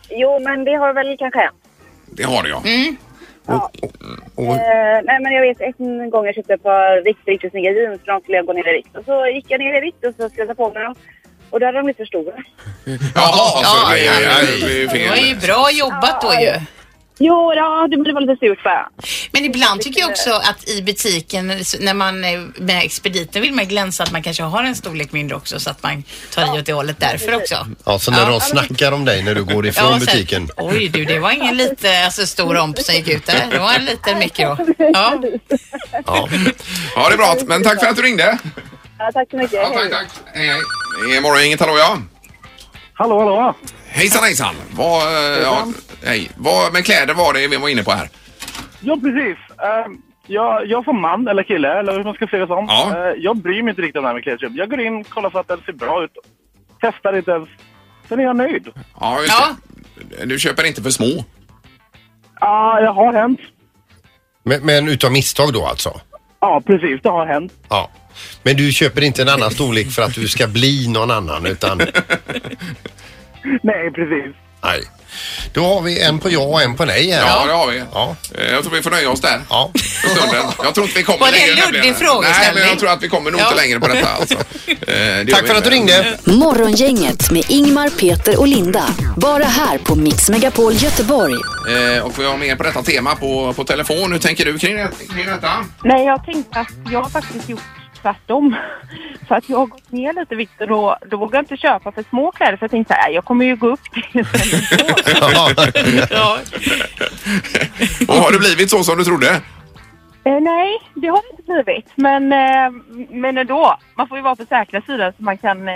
[SPEAKER 10] Jo, men det har väl kanske hänt.
[SPEAKER 5] Mm.
[SPEAKER 2] Det har jag.
[SPEAKER 3] Och,
[SPEAKER 10] Eh, nej, men jag vet en gång jag köpte ett par riktigt, riktigt snygga jeans för de skulle jag gå ner i vikt. Och så gick jag ner i vikt och så skulle jag ta på mig dem. Och då hade de blivit för stora.
[SPEAKER 2] Jaha, så det
[SPEAKER 5] ja, ja.
[SPEAKER 2] är- det är ju
[SPEAKER 5] Det var ju
[SPEAKER 2] fel.
[SPEAKER 5] bra jobbat då ju.
[SPEAKER 10] Jo, ja, det var lite surt bara.
[SPEAKER 5] Men ibland tycker jag också att i butiken s- när man eh, med expediten vill man glänsa att man kanske har en storlek mindre också så att man tar i åt det hållet därför också.
[SPEAKER 3] Ja, så när
[SPEAKER 5] Ja.
[SPEAKER 3] de snackar om dig när du går ifrån
[SPEAKER 5] Ja, och sen-
[SPEAKER 3] butiken.
[SPEAKER 5] Oj du, det var ingen lite alltså, stor omp som gick ut där. Det var en liten mikro. Ja.
[SPEAKER 2] Ja. ja, det är bra. Men tack för att du ringde.
[SPEAKER 10] Ja, tack så mycket.
[SPEAKER 2] tack, tack. Hej, hej. Det är morgon, inget hallå ja.
[SPEAKER 11] Hallå, hallå!
[SPEAKER 2] Hejsan hejsan. Vad, eh, ja, hej. Vad, men kläder var det vi var inne på här.
[SPEAKER 11] Ja, precis. Ehm, jag, jag som man, eller kille, eller hur man ska se det som.
[SPEAKER 2] Ja.
[SPEAKER 11] eh, jag bryr mig inte riktigt om det här med klädköp. Jag går in, kollar så att den ser bra ut. Testar inte ens. Sen är jag nöjd.
[SPEAKER 2] Ja, just det. Du köper inte för små.
[SPEAKER 11] Ja, det har hänt.
[SPEAKER 3] Men, men utav misstag då alltså?
[SPEAKER 11] Ja, precis. Det har hänt.
[SPEAKER 3] Ja. Men du köper inte en annan storlek för att du ska bli någon annan utan...
[SPEAKER 11] Nej, precis.
[SPEAKER 3] Nej. Då har vi en på ja och en på nej här.
[SPEAKER 2] Ja, det har vi.
[SPEAKER 3] Ja.
[SPEAKER 2] Eh, Jag tror vi får nöja oss där.
[SPEAKER 3] Ja.
[SPEAKER 2] För stunden. Jag tror inte vi kommer
[SPEAKER 5] Var det en
[SPEAKER 2] längre. nämligen.
[SPEAKER 5] luddig
[SPEAKER 2] Nej,
[SPEAKER 5] frågeställning?
[SPEAKER 2] men jag tror att vi kommer nog inte
[SPEAKER 5] Ja.
[SPEAKER 2] längre på detta. Alltså. Eh, det gör
[SPEAKER 3] Tack
[SPEAKER 2] vi
[SPEAKER 3] för att
[SPEAKER 2] inte.
[SPEAKER 3] du ringde.
[SPEAKER 4] Morgongänget med Ingmar, Peter och Linda. Bara här på Mix Megapol Göteborg.
[SPEAKER 2] Eh, och vi har mer på detta tema på, på telefon. Hur tänker du kring, det, kring detta?
[SPEAKER 10] Nej, jag tänkte att jag har faktiskt gjort tvärtom. Så att jag har gått ner lite i vikt och då, då vågar jag inte köpa för små kläder för jag tänkte så här, jag kommer ju gå upp till
[SPEAKER 2] ja. och har det blivit så som du trodde?
[SPEAKER 10] Eh, nej, det har det inte blivit. Men, eh, men ändå, man får ju vara på säkra sidan så man kan eh,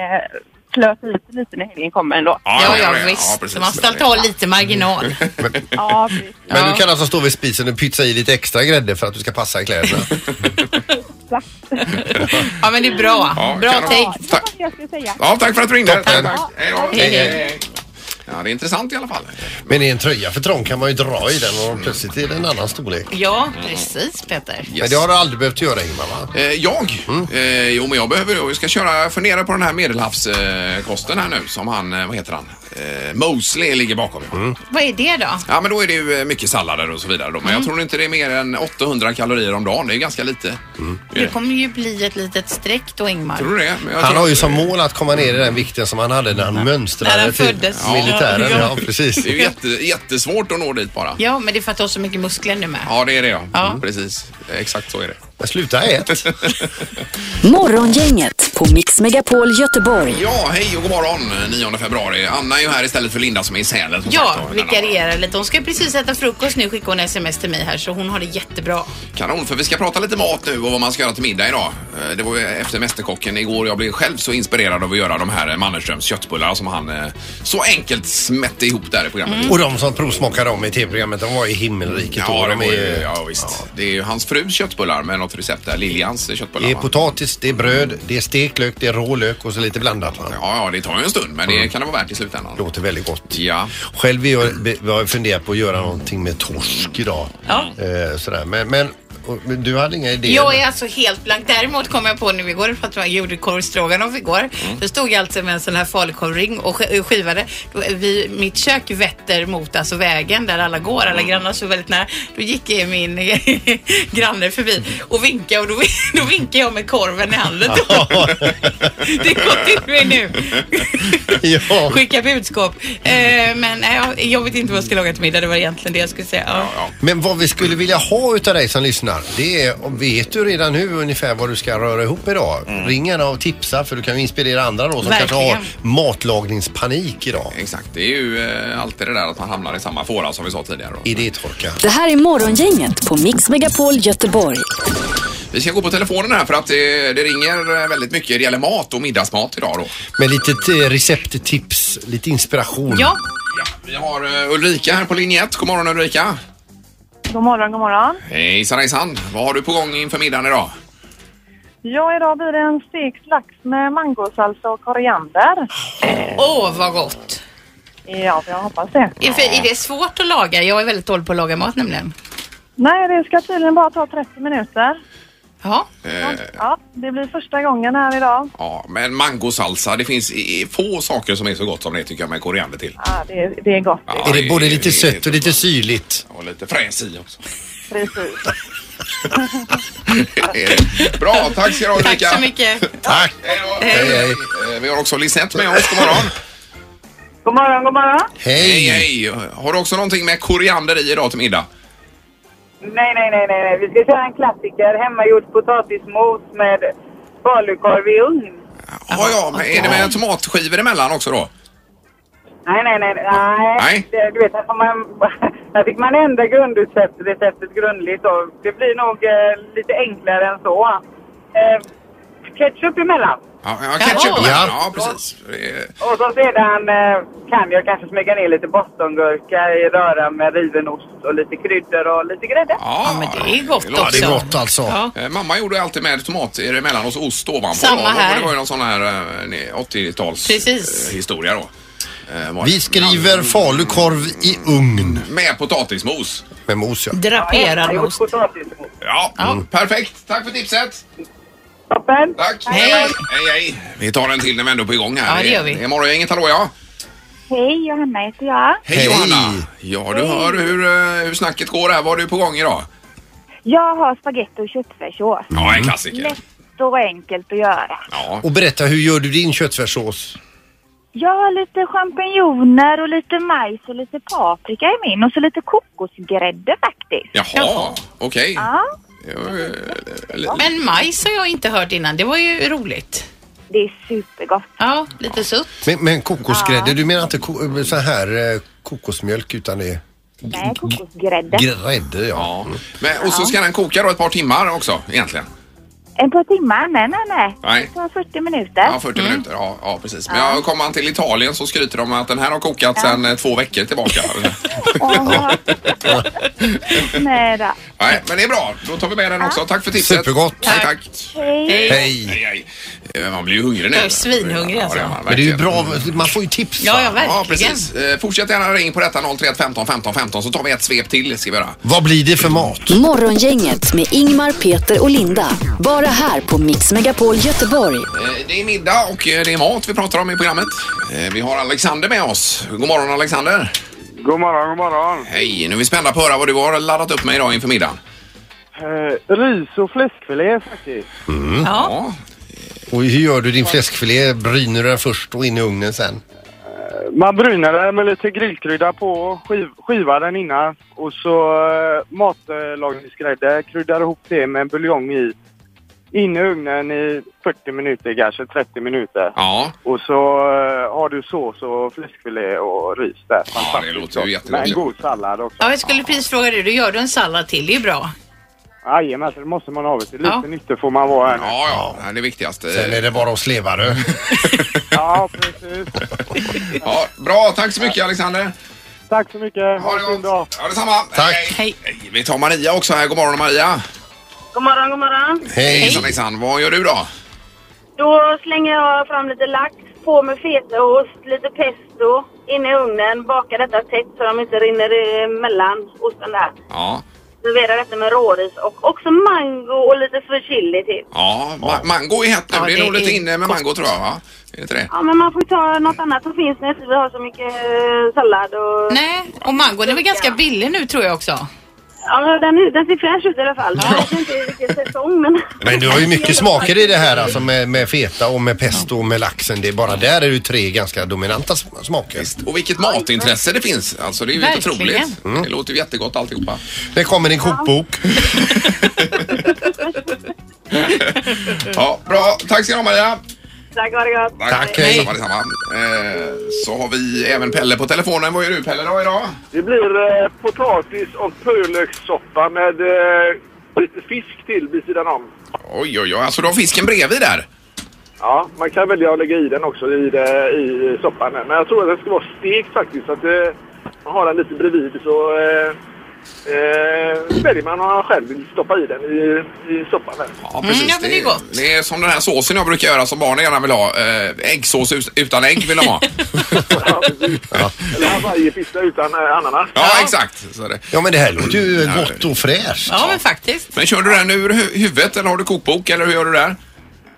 [SPEAKER 10] slösa ut lite när helgen kommer ändå.
[SPEAKER 5] Ja, ja, visst. Så man ska ta lite marginal.
[SPEAKER 10] Ja, precis.
[SPEAKER 3] Men du kan alltså stå vid spisen och pytsa i lite extra grädde för att du ska passa i kläderna.
[SPEAKER 5] Ja, men det är bra.
[SPEAKER 2] Ja,
[SPEAKER 5] Bra
[SPEAKER 2] kanon.
[SPEAKER 5] tänkt.
[SPEAKER 10] Det var det jag skulle säga.
[SPEAKER 2] Ja, tack för att du ringde.
[SPEAKER 3] Toppen.
[SPEAKER 2] Tack, tack. Hej då.
[SPEAKER 5] Hej, hej.
[SPEAKER 2] Ja, det är intressant i alla fall.
[SPEAKER 3] Men i en tröja för trång kan man ju dra i den och plötsligt är det en annan storlek.
[SPEAKER 5] Ja, precis Peter.
[SPEAKER 3] Men det har du aldrig behövt göra Ingmar va?
[SPEAKER 2] Eh, jag?
[SPEAKER 5] Mm.
[SPEAKER 2] Eh, jo, men jag behöver Jag ska köra, fundera på den här medelhavskosten eh, kosten här nu som han, eh, vad heter han? Eh, Mosley ligger bakom.
[SPEAKER 5] Vad är det då?
[SPEAKER 2] Ja, men då är det ju eh, mycket sallader och så vidare. Då. Men
[SPEAKER 5] Mm.
[SPEAKER 2] jag tror inte det är mer än 800 kalorier om dagen. Det är ganska lite. Är
[SPEAKER 5] Mm. Det
[SPEAKER 2] det?
[SPEAKER 5] kommer ju bli ett litet streck då Ingmar.
[SPEAKER 2] Tror du det? Men jag tror-
[SPEAKER 3] Han
[SPEAKER 2] Mm.
[SPEAKER 3] har ju som mål att komma ner i den vikten som han hade när han
[SPEAKER 5] När
[SPEAKER 3] mönstrade
[SPEAKER 5] han
[SPEAKER 3] till
[SPEAKER 5] föddes.
[SPEAKER 3] militären.
[SPEAKER 5] Ja.
[SPEAKER 3] Ja, precis.
[SPEAKER 2] Det är ju jätte, jättesvårt att nå dit bara.
[SPEAKER 5] Ja, men det är för att du har så mycket muskler nu med.
[SPEAKER 2] Ja, det är det ja.
[SPEAKER 5] Ja.
[SPEAKER 2] Mm, Precis. Exakt så är det.
[SPEAKER 3] Men sluta ät.
[SPEAKER 4] Morgongänget på Mix Megapol Göteborg.
[SPEAKER 2] Ja, hej och god morgon 9 februari. Anna är ju här istället för Linda som är i Sälen. som sagt,
[SPEAKER 5] Ja,
[SPEAKER 2] och denna
[SPEAKER 5] vikarierar lite. Hon ska precis äta frukost nu, skickade hon sms till mig här, så hon har det jättebra.
[SPEAKER 2] Kanon, för vi ska prata lite mat nu och vad man ska göra till middag idag. Eh, Det var ju efter Mästerkocken igår. Jag blev själv så inspirerad av att göra de här eh, Mannerströms köttbullarna som han eh, så enkelt smätte ihop där i programmet.
[SPEAKER 3] Och de som provsmakade om i tv-programmet, de var i himmelriket.
[SPEAKER 2] Ja,
[SPEAKER 3] och
[SPEAKER 2] det
[SPEAKER 3] de
[SPEAKER 2] var ju,
[SPEAKER 3] är,
[SPEAKER 2] ja visst. Det är ju hans frus köttbullar med något recept där. Liljans köttbullar.
[SPEAKER 3] det är
[SPEAKER 2] va?
[SPEAKER 3] potatis, det är bröd, det är stekt lök, det är rå lök och så lite blandat. Va?
[SPEAKER 2] Ja, ja, det tar ju en stund, men
[SPEAKER 3] Mm.
[SPEAKER 2] det kan det vara värt i slutändan.
[SPEAKER 3] Låter väldigt gott.
[SPEAKER 2] Ja.
[SPEAKER 3] Själv är jag, be- jag har jag funderat på att göra någonting med torsk idag.
[SPEAKER 5] Ja.
[SPEAKER 3] Eh, sådär. Men, men, och, men du hade inga idéer?
[SPEAKER 5] Jag är alltså helt blank. Däremot kom jag på nu igår, för att jag gjorde korvstroganoff igår. Då stod jag alltså med en sån här falukorvring och sk- och skivade. Då, vi, mitt kök vetter mot alltså vägen där alla går, alla grannar så väldigt nära. Då gick eh, min granne förbi och vinkade och då, vi- då vinkade jag med korven i handen. det går till mig nu.
[SPEAKER 3] ja.
[SPEAKER 5] Skicka budskap. Eh, men nej, jag- jag vet inte vad jag ska laga till middag. Det var egentligen det jag skulle säga. Ja.
[SPEAKER 3] Men vad vi skulle vilja ha utav dig som lyssnar, det är, om- vet du redan nu ungefär vad du ska röra ihop idag?
[SPEAKER 2] Mm.
[SPEAKER 3] Ring gärna och tipsa för du kan ju inspirera andra då som kanske har
[SPEAKER 5] Verkligen.
[SPEAKER 3] matlagningspanik idag.
[SPEAKER 2] Exakt, det är ju eh, alltid det där att man hamnar i samma fåra som vi sa tidigare. då.
[SPEAKER 3] Idétorka.
[SPEAKER 4] Det här är Morgongänget på Mix Megapol Göteborg.
[SPEAKER 2] Vi ska gå på telefonen här för att det, det ringer eh, väldigt mycket. Det gäller mat och middagsmat idag då.
[SPEAKER 3] Med lite eh, recepttips, lite inspiration.
[SPEAKER 5] Ja.
[SPEAKER 2] Vi har eh, Ulrika här på linje 1. God morgon Ulrika.
[SPEAKER 10] God morgon, god morgon.
[SPEAKER 2] Hejsan hejsan. Vad har du på gång inför middagen idag?
[SPEAKER 10] Ja, idag blir det en stekt lax med mangosalsa och koriander.
[SPEAKER 5] Åh, vad gott!
[SPEAKER 10] Ja, jag hoppas det.
[SPEAKER 5] Är, för, är det svårt att laga? Jag är väldigt dålig på att laga mat nämligen.
[SPEAKER 10] Nej, det ska tydligen bara ta 30 minuter.
[SPEAKER 5] Ja.
[SPEAKER 2] Eh,
[SPEAKER 10] Ja, det blir första gången här idag.
[SPEAKER 2] ja, men mangosalsa, det finns i- i få saker som är så gott som det tycker jag med koriander till.
[SPEAKER 10] Ja, det, är- det är gott.
[SPEAKER 2] Ja,
[SPEAKER 3] är det både lite sött och lite syrligt?
[SPEAKER 2] Och lite fräs i också.
[SPEAKER 10] Precis.
[SPEAKER 2] Bra, tack ska du ha
[SPEAKER 5] Tack
[SPEAKER 2] Ulrika.
[SPEAKER 5] så mycket.
[SPEAKER 3] Tack!
[SPEAKER 2] Hej, hej. Eh, Vi har också Lisette med oss, god morgon.
[SPEAKER 10] God morgon, god morgon.
[SPEAKER 2] Hej. hej! Har du också någonting med koriander i idag till middag?
[SPEAKER 10] Nej, nej, nej, nej, nej. Vi ska köra en klassiker. Hemmagjord potatismos med falukorv i ugn.
[SPEAKER 2] Ja, ja, men är det med tomatskivor emellan också då?
[SPEAKER 10] Nej, nej, nej. nej.
[SPEAKER 2] Nej.
[SPEAKER 10] Det, du vet, här, får man, här fick man ändra grundreceptet grundligt. Och det blir nog eh, lite enklare än så. Eh, ketchup emellan.
[SPEAKER 2] Ja, ja ketchup
[SPEAKER 10] Jaha.
[SPEAKER 2] emellan.
[SPEAKER 10] Ja.
[SPEAKER 2] Ja, precis. Det är-
[SPEAKER 10] Och så sedan eh, kan jag kanske smyga ner lite bostongurka i röra med riven ost och lite kryddor och lite grädde.
[SPEAKER 2] Ja, men det är gott
[SPEAKER 3] Ja, det är gott alltså.
[SPEAKER 2] Eh, Mamma gjorde alltid med tomat emellan och så ost ovanpå.
[SPEAKER 5] Samma
[SPEAKER 2] då.
[SPEAKER 5] här.
[SPEAKER 2] Det var ju någon sån här eh, ne- 80-tals
[SPEAKER 5] Precis.
[SPEAKER 2] eh, historia då. Eh, var-
[SPEAKER 3] Vi skriver falukorv i ugn.
[SPEAKER 2] Med potatismos.
[SPEAKER 3] Med mos ja.
[SPEAKER 5] Draperad ost.
[SPEAKER 2] Ja, perfekt. Tack för tipset.
[SPEAKER 10] Toppen.
[SPEAKER 2] Tack.
[SPEAKER 5] Hej.
[SPEAKER 2] Hej, hej. Vi tar en till när vi ändå är på igång här.
[SPEAKER 10] Ja, det gör vi.
[SPEAKER 2] är Morgongänget, hallå ja.
[SPEAKER 10] Hej, Johanna heter jag.
[SPEAKER 2] Hej, Johanna. Ja, du hör hur, eh, hur snacket går här. Vad har du på gång idag?
[SPEAKER 10] Jag har spagetti och köttfärssås.
[SPEAKER 2] Ja, en klassiker.
[SPEAKER 10] Lätt och enkelt att göra.
[SPEAKER 2] Ja.
[SPEAKER 3] Och berätta, hur gör du din köttfärssås?
[SPEAKER 10] Jag har lite champinjoner och lite majs och lite paprika i min och så lite kokosgrädde faktiskt.
[SPEAKER 2] Jaha, okej.
[SPEAKER 10] Ja,
[SPEAKER 2] Ja, eh, eller-
[SPEAKER 5] Men majs har jag inte hört innan. Det var ju roligt.
[SPEAKER 10] det är supergott.
[SPEAKER 5] Ja, lite sutt.
[SPEAKER 3] Men, men kokosgrädde, du menar inte ko- så här eh, kokosmjölk utan det är
[SPEAKER 10] Nej, kokosgrädde.
[SPEAKER 3] grädde ja.
[SPEAKER 2] Ja. Men, och så ska den koka då ett par timmar också egentligen.
[SPEAKER 10] En på timmar? Nej, nej, nej.
[SPEAKER 2] Nej.
[SPEAKER 10] Det tar 40 minuter.
[SPEAKER 2] Ja, 40 minuter. Ja, ja precis. Men jag kom man till Italien så skryter de att den här har kokat sedan eh, två veckor tillbaka.
[SPEAKER 10] Åh, nej då.
[SPEAKER 2] Nej, men det är bra. Då tar vi med den också. Tack för tipset.
[SPEAKER 3] Supergott.
[SPEAKER 2] Tack. Tack.
[SPEAKER 10] Hej.
[SPEAKER 3] Hej.
[SPEAKER 2] Hej, hej. Eh, Man blir ju hungrig nu.
[SPEAKER 5] Jag är svinhungrig, alltså.
[SPEAKER 2] Ja, det är man
[SPEAKER 3] Men det är ju
[SPEAKER 2] verkligen.
[SPEAKER 3] bra, man får ju tips.
[SPEAKER 5] Ja, ja,
[SPEAKER 2] Ja,
[SPEAKER 5] verkligen.
[SPEAKER 2] precis. Eh, Fortsätt gärna ring på detta 031 15 15 15 så tar vi ett svep till ska vi göra.
[SPEAKER 3] Vad blir det för mat?
[SPEAKER 4] Morgongänget med Ingmar, Peter och Linda. Bara här på Mix Megapol Göteborg.
[SPEAKER 2] Eh, Det är middag och eh, det är mat vi pratar om i programmet. Eh, Vi har Alexander med oss. God morgon Alexander.
[SPEAKER 11] God morgon, god morgon.
[SPEAKER 2] Hej, nu är vi spända på att höra vad du har laddat upp med idag inför middagen.
[SPEAKER 11] Eh, ris och fläskfilé faktiskt.
[SPEAKER 3] Mm.
[SPEAKER 5] Ja.
[SPEAKER 3] Och hur gör du din fläskfilé? Bryner du den först och in i ugnen sen?
[SPEAKER 11] Man brynar den med lite grillkrydda på och skiv, skivar den innan. Och så eh, matlagningsgrädde, kryddar ihop det med en buljong i. In i ugnen i 40 minuter, kanske 30 minuter.
[SPEAKER 2] Ja.
[SPEAKER 11] Och så eh, har du sås och fläskfilé och ris där.
[SPEAKER 2] Ja, det låter ju jättegott.
[SPEAKER 11] Med en god sallad också.
[SPEAKER 5] Ja, jag skulle prisfråga dig. Då gör du en sallad till. Det är bra.
[SPEAKER 11] Jajamän, så det måste man ha. vet du. Lite
[SPEAKER 5] Ja.
[SPEAKER 11] nyttig får man vara här nu.
[SPEAKER 2] Ja, ja, det är det viktigaste.
[SPEAKER 3] Sen är det bara att sleva du.
[SPEAKER 11] Ja, precis.
[SPEAKER 2] Ja, bra, tack så mycket Alexander.
[SPEAKER 11] Tack så mycket. Ha en fin dag.
[SPEAKER 2] Ja, detsamma.
[SPEAKER 3] Tack.
[SPEAKER 5] Hej.
[SPEAKER 2] Hej, Vi tar Maria också här. God morgon Maria.
[SPEAKER 10] God morgon, god morgon.
[SPEAKER 3] Hej!
[SPEAKER 2] Hejsan hejsan. Vad gör du då?
[SPEAKER 10] Då slänger jag fram lite lax, på med fetaost, lite pesto in i ugnen. Bakar detta tätt så de inte rinner emellan osten där.
[SPEAKER 2] Ja,
[SPEAKER 10] Serverar detta med råris och också mango och lite förchili till.
[SPEAKER 2] ja ma- mango är hett nu.
[SPEAKER 5] Ja,
[SPEAKER 2] det är
[SPEAKER 5] det
[SPEAKER 2] nog lite
[SPEAKER 5] är
[SPEAKER 2] inne med
[SPEAKER 5] gott.
[SPEAKER 2] mango tror jag va? Är det inte det?
[SPEAKER 10] Ja, men man får ju ta något annat som finns när inte vi har så mycket eh, sallad och...
[SPEAKER 5] Nej, och mangon är väl ganska billig nu tror jag också.
[SPEAKER 10] Ja, men den, är- den ser fräsch ut i alla fall. Jag vet inte vilken säsong, men...
[SPEAKER 3] Men du har ju mycket smaker i det här alltså med, med feta och med pesto och med laxen. Det är bara där är det ju tre ganska dominanta sm- smaker.
[SPEAKER 2] Och vilket matintresse det finns. Alltså det är ju helt
[SPEAKER 5] Verkligen. Mm.
[SPEAKER 2] otroligt. Det låter ju jättegott alltihopa.
[SPEAKER 3] Det kommer en kokbok.
[SPEAKER 2] Ja, bra. Tack ska du ha Maria.
[SPEAKER 10] Tack, ha det gott.
[SPEAKER 3] Tack, hej.
[SPEAKER 2] Detsamma, detsamma. Eh, så har vi även Pelle på telefonen. Vad gör du Pelle då idag?
[SPEAKER 11] Det blir eh, potatis och purlökssoppa med eh, lite fisk till vid sidan om.
[SPEAKER 2] Oj, oj, oj. Alltså du har fisken bredvid där?
[SPEAKER 11] Ja, man kan välja att lägga i den också i, det, i soppan. här. Men jag tror att den ska vara stekt faktiskt. Så att eh, man har den lite bredvid så eh, Eh, Bergman har själv vill stoppa i den i, i soppan. Där.
[SPEAKER 2] Ja, precis.
[SPEAKER 11] Mm, ja, men det är gott.
[SPEAKER 2] Det är som den här såsen jag brukar göra som barnen gärna vill ha. Eh, äggsås us- utan ägg vill de ha.
[SPEAKER 11] Eller hawaiipizza utan eh, ananas.
[SPEAKER 2] Ja, exakt. Så det.
[SPEAKER 3] Ja, men det här låter ju gott och fräscht.
[SPEAKER 5] Ja, men faktiskt.
[SPEAKER 2] Men kör du den ur hu- huvudet eller har du kokbok eller hur gör du där?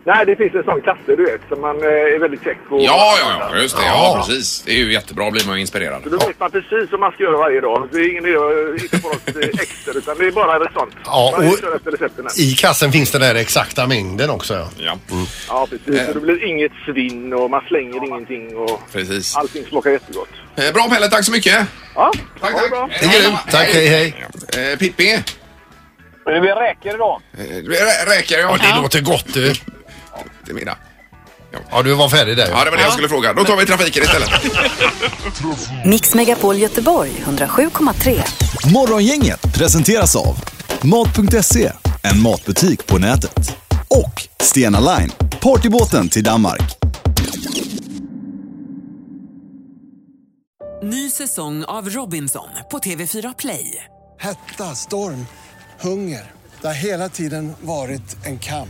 [SPEAKER 11] Nej, det finns en sån kasse du vet som man eh, är väldigt käck på.
[SPEAKER 2] Ja, ja, ja, just det. Ja, precis. Det är ju jättebra, blir man ju inspirerad.
[SPEAKER 11] Så då vet man precis vad man ska göra varje dag. Det är ingen idé att hitta på något eh, extra utan det är bara sånt.
[SPEAKER 3] Ja,
[SPEAKER 11] Man
[SPEAKER 3] och-
[SPEAKER 11] kör efter recepten här.
[SPEAKER 3] I kassen finns den där exakta mängden också. Ja. Mm.
[SPEAKER 11] Ja, precis. Så det blir inget svinn och man slänger ingenting och
[SPEAKER 2] Precis.
[SPEAKER 11] allting smakar jättegott.
[SPEAKER 2] Eh, Bra Pelle, tack så mycket.
[SPEAKER 11] Ja,
[SPEAKER 2] tack,
[SPEAKER 11] ha det bra.
[SPEAKER 3] Tack, hej, hej.
[SPEAKER 2] Eh, Pippi? Eh,
[SPEAKER 11] Det blir räkor idag.
[SPEAKER 2] det blir rä- Räkor, ja.
[SPEAKER 3] Det låter gott du.
[SPEAKER 2] Till middag.
[SPEAKER 3] Ja, du var färdig där.
[SPEAKER 2] Ja, det var det jag skulle fråga. Då tar vi trafiken istället.
[SPEAKER 4] Mix Megapol Göteborg 107,3.
[SPEAKER 1] Morgongänget presenteras av Mat.se, en matbutik på nätet. Och Stena Line, partybåten till Danmark.
[SPEAKER 12] Ny säsong av Robinson på TV4 Play.
[SPEAKER 13] Hetta, storm, hunger. Det har hela tiden varit en kamp.